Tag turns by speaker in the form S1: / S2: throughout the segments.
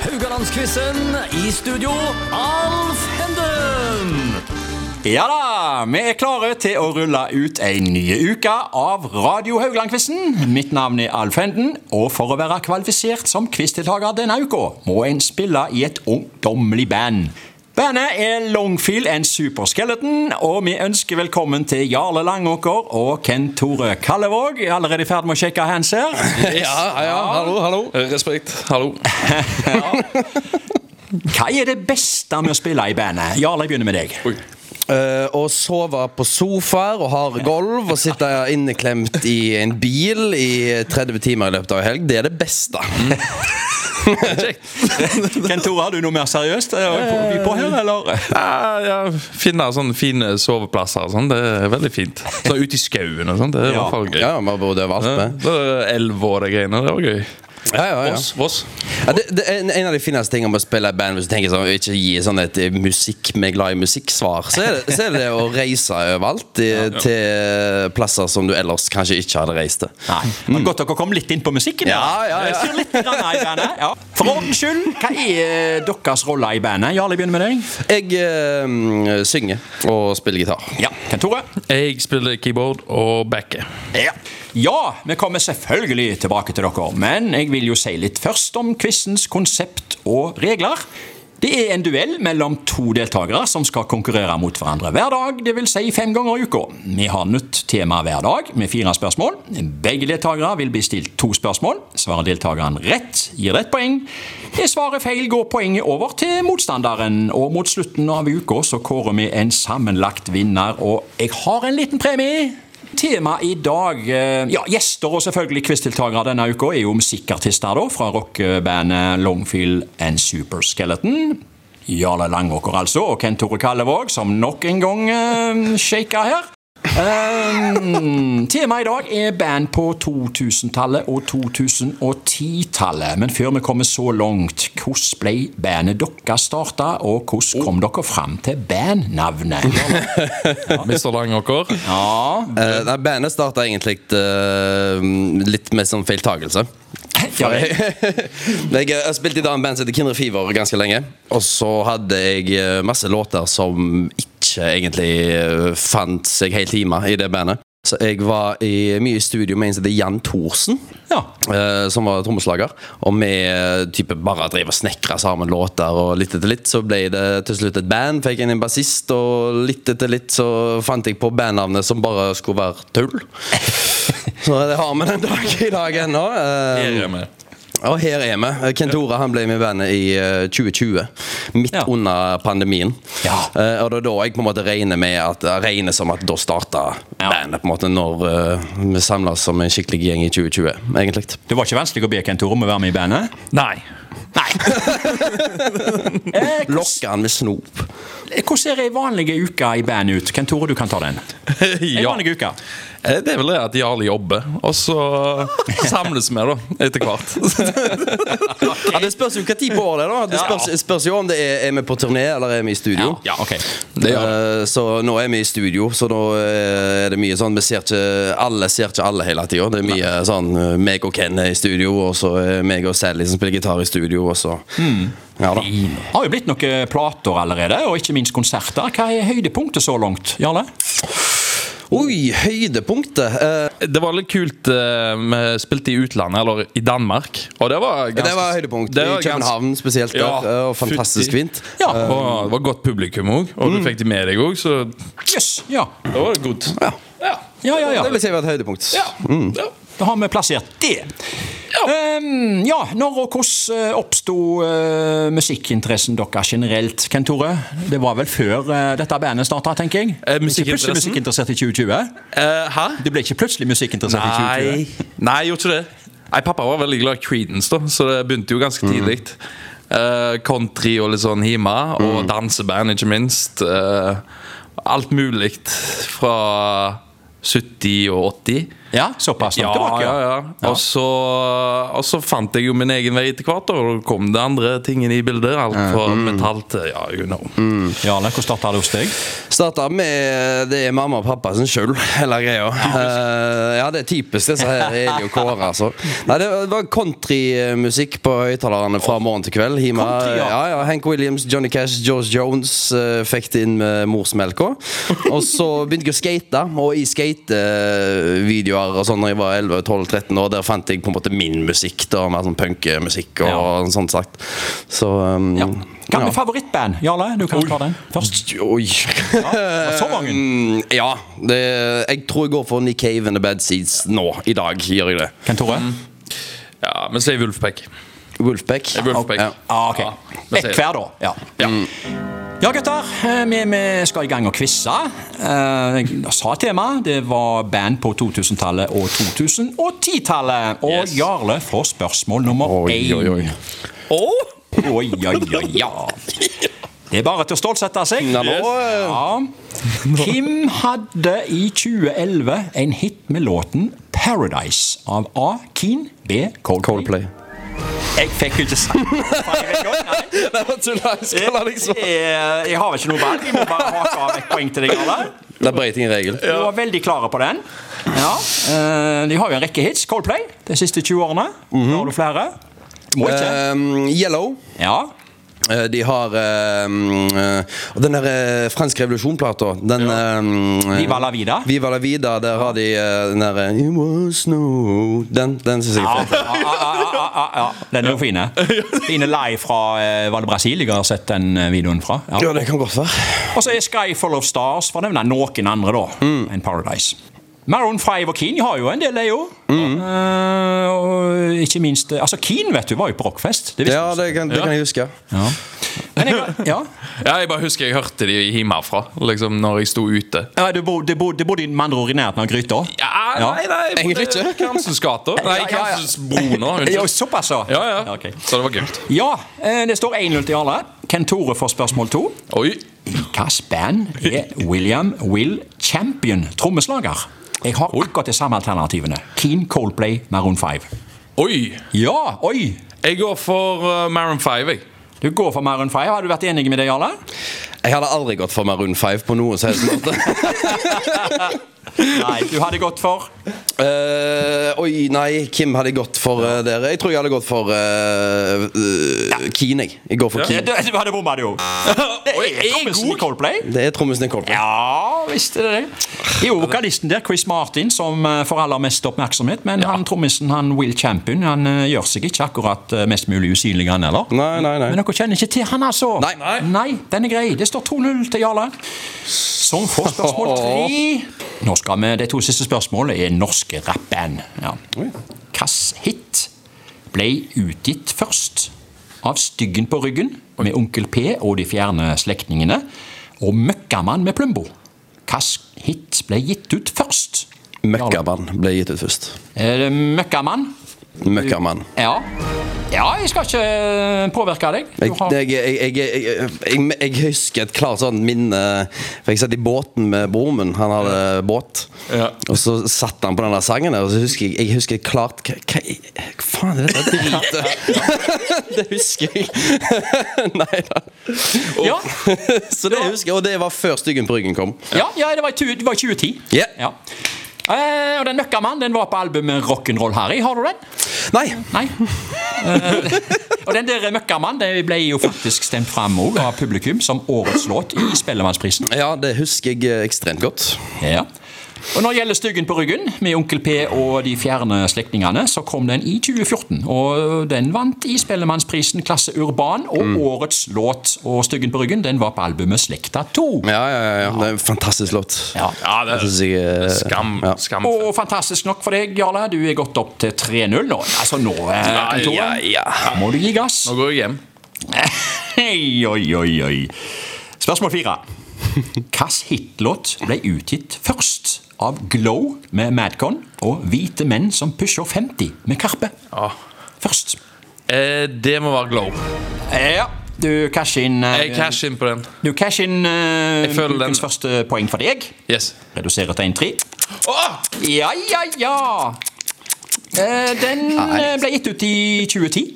S1: Haugalandsquizen. I studio, Alf Henden.
S2: Ja da, vi er klare til å rulle ut en ny uke av Radio Haugland-quizen. Mitt navn er Alf Henden, og for å være kvalifisert som quizdeltaker denne uka, må en spille i et ungdommelig band. Bandet er Longfeel and Superskeleton, og vi ønsker velkommen til Jarle Langåker og Kent Tore Kallevåg. Jeg er Allerede i ferd med å sjekke hands her.
S3: Ja, ja, hallo, hallo. Respekt. Hallo.
S2: Hva er det beste med å spille i bandet? Jarle, jeg begynner med deg.
S3: Eh,
S4: Å sove på sofaer og harde gulv og sitte inneklemt i en bil i 30 timer i løpet av en helg, det er det beste.
S3: Mm.
S2: Kent Tore, har du noe mer seriøst eh, å by på her, eller?
S3: ja, ja, finne sånne fine soveplasser og sånn, det er veldig fint. Så ute i skauen og sånn, det er i
S2: Ja.
S3: hvert fall gøy.
S4: Ja, man bodde overalt
S3: Ja,
S4: med.
S3: så er det Elva og de greiene, det er også gøy.
S4: Ja, ja, ja.
S3: Voss, Voss.
S4: Ja, det, det er en- en av de fineste tingene med å spille i band Hvis du tenker sånn, ikke gi sånn et musikk med glad i musikksvar så, er det- så er det det å reise overalt i, til plasser som du ellers kanskje ikke hadde reist til.
S2: Nei. Men godt dere kom litt inn på musikken.
S4: Ja,
S2: da.
S4: ja, ja.
S2: Jeg sier Litt grann i bandet, ja. For ordens skyld, hva er eh, deres rolle i bandet? Jarle, begynner med deg.
S4: Jeg eh, synger og spiller gitar.
S2: Ja, Kent Tore.
S3: Jeg spiller keyboard og backer.
S2: Ja. ja, vi kommer selvfølgelig tilbake til dere, men jeg vil jo si litt først om quizens konsept og regler. Det er en duell mellom to deltakere som skal konkurrere mot hverandre hver dag, dvs. Si fem ganger i uka. Vi har nytt tema hver dag med fire spørsmål. Begge deltakere vil bli stilt to spørsmål. Svarer deltakeren rett, gir det ett poeng. Er svaret feil, går poenget over til motstanderen. Og mot slutten av uka så kårer vi en sammenlagt vinner, og jeg har en liten premie. Tema i dag eh, Ja, gjester og selvfølgelig quizdeltakere denne uka er jo musikkartister da, fra rockebandet Longfield and Super Skeleton. Jarle Langåker altså, og Kent Tore Kallevåg, som nok en gang eh, shaker her. Um, Temaet i dag er band på 2000-tallet og 2010-tallet. Men før vi kommer så langt, hvordan ble bandet dere starta, og hvordan kom dere fram til bandnavnet?
S3: Mr. Langåker.
S4: Eh, nei, bandet starta egentlig eh, litt med sånn feiltagelse.
S2: Ja, det-
S4: jeg har spilt i et annet band som heter Kindre Fever ganske lenge. Og så hadde jeg eh, masse låter som ikke egentlig eh, fant seg helt hjemme i det bandet. Så jeg var i, mye i studio med en som heter Jan Thorsen.
S2: Ja.
S4: eh, som var trommeslager. Og vi eh, type bare drev og snekra sammen låter, og litt etter litt så ble det til slutt et band. Fikk inn en bassist, og litt etter litt så fant jeg på bandnavnet som bare skulle være tull. Så det har vi den dag i dag ennå. eh,
S3: Her er vi.
S4: og her er vi. Kentora han ble med i bandet i eh, 2020. Midt
S2: Ja.
S4: under pandemien.
S2: Ja.
S4: Eh, og det er da jeg på en måte regner med at jeg regner som at da starta
S2: Ja.
S4: bandet, på en måte, når eh, vi samles som en skikkelig gjeng i 2020, egentlig.
S2: Det var ikke vanskelig å be Kent Tore om å være med i bandet?
S3: Nei.
S2: Eh, hvordan-
S4: Lokke han med snop.
S2: Hvordan er ei vanlig uke i band ut? Kent Tore, du kan ta den. Ei
S3: ja.
S2: vanlig uke.
S3: Eh, Det er vel det at Jarle jobber, og så samles vi, da, etter hvert.
S4: Ja, det spørs jo hva tid på året det er, da. Det spørs, spørs jo om det er, er vi på turné eller er vi i studio.
S2: Ja, ok.
S3: Det gjør
S4: Eh, Så nå er vi i studio, så nå eh, er det mye sånn Vi ser ikke alle ser ikke alle hele tida. Det er mye sånn eh, meg og Ken er i studio, og så er meg og Sally som spiller gitar i studio, og så Ja da.
S2: Har jo blitt noen eh, plater allerede, og ikke minst konserter. Hva er høydepunktet så langt, Jarle?
S4: Oi, høydepunktet! Eh,
S3: Det var litt kult eh, Vi spilte i utlandet, eller i Danmark. Og det var ganske
S4: det var høydepunkt.
S3: det var
S4: I København spesielt. Der,
S3: Ja,
S4: eh, og fantastisk
S3: fytti.
S4: fint.
S3: Ja, og det var godt publikum òg, og du fikk det med deg òg, så det
S2: Yes, ja.
S3: var godt.
S4: Ja.
S2: Ja, ja, ja.
S4: Det vil si var et høydepunkt.
S3: Ja. Ja.
S2: Da har vi plassert det.
S3: Ja.
S2: Ehm, ja, når og hvordan eh, oppsto eh, musikkinteressen deres generelt, Kent Tore? Det var vel før eh, dette bandet starta, tenker jeg?
S3: Eh,
S2: Ikke plutselig
S3: musikkinteressen?
S2: musikkinteressert i 2020?
S3: Eh, hæ?
S2: Du ble ikke plutselig musikkinteressert i 2020?
S3: Nei. Nei, jeg gjorde ikke det. Nei, Pappa var veldig glad i Creedence, da, så det begynte jo ganske tidlig. Eh, country og litt sånn hjemme, og danseband, ikke minst. Eh, alt mulig fra 70 og 80.
S2: Ja, såpass langt
S3: Ja,
S2: tilbake.
S3: ja, ja. Og, så, og så fant jeg jo min egen vei etter hvert, og da kom det andre tingene i bildet. Alt fra metall til ja, you know.
S2: Jarle, hvordan starta det hos deg?
S4: Starta med Det er mamma og pappa sin skyld, hele greia. Eh, ja, det er typisk disse her Eli og Kåre, altså. Nei, det var countrymusikk på høyttalerne fra morgen til kveld. Hima,
S2: Country, ja.
S4: ja. Ja, Hank Williams, Johnny Cash, George Jones eh, fikk det inn med morsmelka. Og så begynte jeg å skate, og i skatevideoer og sånn når jeg var 11-12-13 år, der fant jeg på en måte min musikk. da, Mer sånn punkmusikk og
S2: Ja.
S4: sånn sagt. Så um,
S2: Ja. Hva
S4: ja.
S2: med favorittband? Jarle, du kan ta den først.
S4: Oi.
S3: Eh,
S2: Ja, så mange.
S4: Mm, ja. Det, jeg tror jeg går for Nick Cave and The Bad Seeds nå. I dag gjør jeg det.
S2: Ken Tore?
S3: mm. Ja, men si Wolfpack.
S4: Eh, Wolfpack. Mm.
S3: Det er Wolfpack.
S4: Ja.
S2: Ja, Ah, ok.
S3: vi
S2: Ett
S3: ser.
S2: hver, da. Ja.
S3: Ja.
S2: Ja, gutter. eh, Vi, vi skal i gang og quize. Eh, Jeg sa temaet. Det var band på 2000-tallet og 2010-tallet. Og
S3: Yes.
S2: Jarle får spørsmål nummer
S4: Oi,
S2: én.
S4: oi, oi.
S2: Oi, oi, oi, ja. Det er bare til å stålsette seg.
S4: Nå, nå,
S2: Ja. Kim hadde i 2011 en hit med låten 'Paradise' av A. Keen, B. Coldplay.
S4: Coldplay.
S2: Jeg fikk jo ikke sagt det. Faen, jeg vet ikke om- nei.
S4: Nei, men tulla, jeg skal la deg svare.
S2: Eh, Jeg har vel ikke noe valg. Jeg må bare hake av et poeng til deg. Jarle.
S4: Det er brøyting i regel.
S2: Du var veldig klare på den. Ja. eh, De har jo en rekke hits. Coldplay de siste 20 årene. Har du flere? Må ikke.
S4: Um, yellow.
S2: Ja.
S4: Eh, De har um, eh, og Den der eh, franske revolusjonplata Den um, eh,
S2: Viva la vida.
S4: Viva la vida Der har de eh, den der eh, It was snow Den, den synes jeg
S2: Ja,
S4: er fet.
S2: ja, ja, ja, ja, ja. Den er jo fine. Fine live fra eh, Var det Brasil jeg har sett den eh, videoen fra? Ja.
S4: Ja, det kan godt være
S2: Og så er Sky Full of Stars, for å nevne noen andre, da,
S4: Mm.
S2: enn Paradise. Maroon 5 og Keane har jo en del, de jo.
S4: Mm.
S2: Eh, og ikke minst eh, Altså, Keane vet du, var jo på rockfest. Det visste
S4: Ja, det kan, det kan jeg huske
S2: Ja. Men jeg, ja.
S3: Ja, jeg bare husker jeg hørte de hjemmefra, liksom, når jeg sto ute.
S2: Ja, du, bodde, du, bodde, du bodde med andre ord i nærheten av gryta?
S3: Ja, nei, nei, jeg bodde
S4: Egentlig ikke.
S3: i Karmsensgata. Nei,
S2: Ja, ja, ja.
S3: Karmsensbro nå.
S2: Jo,
S3: unnskyld.
S2: såpass, så.
S3: Ja, ja.
S2: Ja, ok.
S3: Så det var kult.
S2: Ja, eh, det står 1-0 til Jarle. Ken Tore får spørsmål to.
S3: Oi.
S2: Hvilket band er William Will Champion trommeslager? Jeg har akkurat de samme alternativene. Keen, Coldplay, Maroon 5.
S3: Oi.
S2: Ja, oi!
S3: Jeg går for uh, Maroon 5, jeg.
S2: Du går for Maroon 5. Har du vært enig med det, Jarle?
S4: Jeg hadde aldri gått for Maroon 5 på noen som helst måte.
S2: Nei, du hadde gått for
S4: Eh, oi, nei, hvem hadde jeg gått for eh, der? Jeg tror jeg hadde gått for eh, eh, Keen, jeg. Jeg går for
S3: Ja.
S2: Du,
S4: Keen.
S2: du hadde bomma, du. Det
S3: Oi,
S2: er trommisen i Coldplay.
S4: Det er trommisen i Coldplay.
S2: Ja, visste det det. Det er jo vokalisten der, Chris Martin, som eh, får aller mest oppmerksomhet. Men han trommisen, han Will Champion, han eh, gjør seg ikke akkurat eh, mest mulig usynlig, han heller.
S4: Nei, nei, nei.
S2: Men dere kjenner ikke til han, altså?
S4: Nei. Nei.
S2: den er grei. Det står 2-0 til Jarle. Som får spørsmål tre. Nå skal vi, De to siste spørsmålene er norske rappband. Ja. Hvilken hit ble utgitt først? Av Styggen på ryggen, med Onkel P og de fjerne slektningene, og Møkkamann med Plumbo. Hvilken hit ble gitt ut først?
S4: Møkkamann ble gitt ut først.
S2: Er det Møkkamann?
S4: Møkkamann.
S2: Ja. ja, jeg skal ikke eh, påvirke deg. Du
S4: Jeg,
S2: har-
S4: jeg, jeg, jeg, jeg, jeg, jeg husker et klart sånn minne For Jeg satt i båten med broren min. Han hadde båt.
S3: Ja.
S4: Og så satt han på den der sangen der, og så husker jeg, jeg husker et klart Hva, hva, hva faen er dette dritet? det husker jeg. nei da.
S2: ja.
S4: Så det husker jeg, og det var før Styggen på ryggen kom.
S2: Ja, ja det, var i, tu- det var i 2010.
S4: Ja.
S2: Ja. Eh, og den Nøkkermann den var på albumet Rock'n'Roll Harry. Har du den?
S4: Nei!
S2: Nei. Eh, og den der Møkkamann det ble jo faktisk stemt fram også av publikum som årets låt i Spellemannsprisen.
S4: Ja, det husker jeg eh, ekstremt godt.
S2: Ja. Og når det gjelder Styggen på ryggen, med Onkel P og de fjerne slektningene, så kom den i 2014. Og den vant i Spellemannsprisen klasse urban og årets låt. Og Styggen på ryggen den var på albumet Slekta 2.
S4: Ja, ja, ja, ja. Det er en fantastisk låt.
S2: Ja.
S3: Ja, det
S4: Jeg synes jeg, eh,
S3: Skam.
S4: ja.
S3: skam.
S2: Og fantastisk nok for deg, Jarle. Du er gått opp til 3-0 nå. Altså nå, eh,
S3: Ja,
S2: Ken Tore,
S3: ja,
S2: da må du gi gass.
S3: Nå går jeg hjem.
S2: Hei, oi, oi, oi. Spørsmål fire. Hvilken hitlåt ble utgitt først av Glow med Madcon og Hvite menn som pusher 50 med Karpe?
S3: Ja.
S2: Først.
S3: Eh, det må være Glow.
S2: Ja, du casher inn eh,
S3: Jeg cash inn på den.
S2: Du casher inn eh,
S3: Jeg føler den-
S2: ukens første poeng for deg.
S3: Yes.
S2: Reduserer til 1-3. Ja, ja, ja. Eh, Den eh, ble gitt ut i 2010.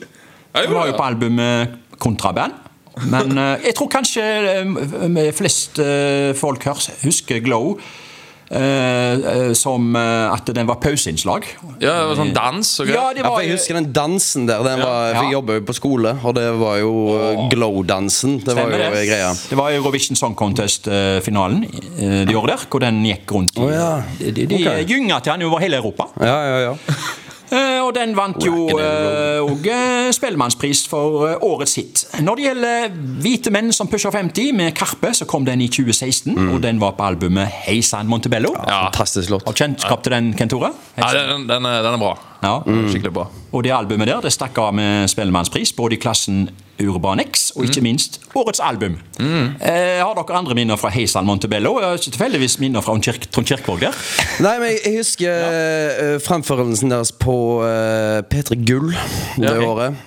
S3: Ja,
S2: Den
S3: jo,
S2: var jo
S3: ja.
S2: på albumet Kontraband. Men eh, jeg tror kanskje eh, flest eh, folk hørs- husker Glow eh, eh, som eh, at den var pauseinnslag.
S3: Ja, det var sånn dans og
S2: Ja,
S3: greier.
S2: det
S4: Ja,
S2: var
S4: for jeg
S2: jo
S4: husker den dansen der. Den var,
S2: Ja.
S4: for jeg jobba jo på skole, og det var jo eh, glow-dansen. Det var jo eh,
S2: Stemmer det.
S4: greia.
S2: Det var Eurovision Song Contest-finalen eh, de året der, hvor den gikk rundt i
S4: Å, ja.
S2: De, de, de
S4: Ok.
S2: gynga til han over hele Europa.
S4: Ja, ja, ja.
S2: Eh, Og den vant jo
S4: Rock and
S2: òg Spellemannspris for eh, årets hit. Når det gjelder Hvite menn som pusher 50 med Karpe, så kom den i 2016. Og den var på albumet Hei sann Montebello.
S3: Ja.
S4: Fantastisk låt.
S2: Har du kjennskap til den, Kent Tore?
S3: Ja, den, den, er, den er bra.
S2: Ja.
S3: Skikkelig bra.
S2: Og det albumet der det stakk av med Spellemannspris, både i klassen Urban X og ikke minst årets album. Eh, har dere andre minner fra Hei sann Montebello? Jeg har ikke tilfeldigvis minner fra Trond Kirk- Trond Kirkvaag der.
S4: Nei, men jeg, jeg husker eh, fremførelsen deres på eh, P3 Gull det
S3: Ja, ok.
S4: året.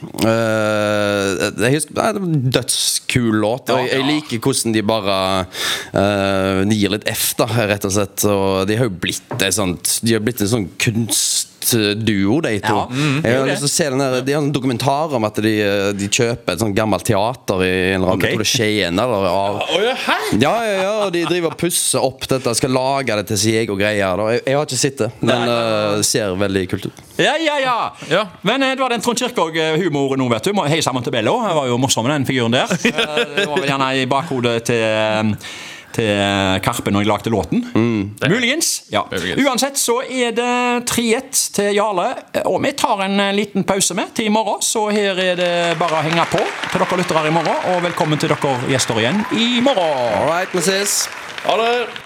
S4: Eh, jeg husker, nei, det var en Dødskul låt. og jeg, jeg liker hvordan de bare eh, De gir litt F, da, rett og slett. Og de har jo blitt et sånt De har blitt en sånn kunstduo, de to.
S2: Ja, mm, det
S4: jeg
S2: er jo
S4: har
S2: det.
S4: lyst til å se den der, De har en dokumentar om at de, eh, de kjøper et sånt gammelt teater i en eller annen,
S2: Ok.
S4: jeg tror det er Skien eller av, ja, ja, ja, og de driver og pusser opp dette. Skal lage det til seg og greier. Da. Jeg, jeg har ikke sett det, men eh, ser veldig kult ut.
S2: Ja, ja, ja,
S3: Ja.
S2: Men eh, det var den Trond Kirkvaag-humoren nå, vet du. Hei sammen til Bello. Han var jo morsom, den figuren der. Eh, Det var vel gjerne i bakhodet til eh, til eh, Karpe når jeg lagde låten. Muligens. ja
S3: Muligens.
S2: Uansett så er det 3-1 til Jarle. Og vi tar en eh, liten pause med til i morgen, så her er det bare å henge på til dere lyttere i morgen. Og velkommen til dere gjester igjen i morgen.
S4: All right, vi ses.
S3: Ha det!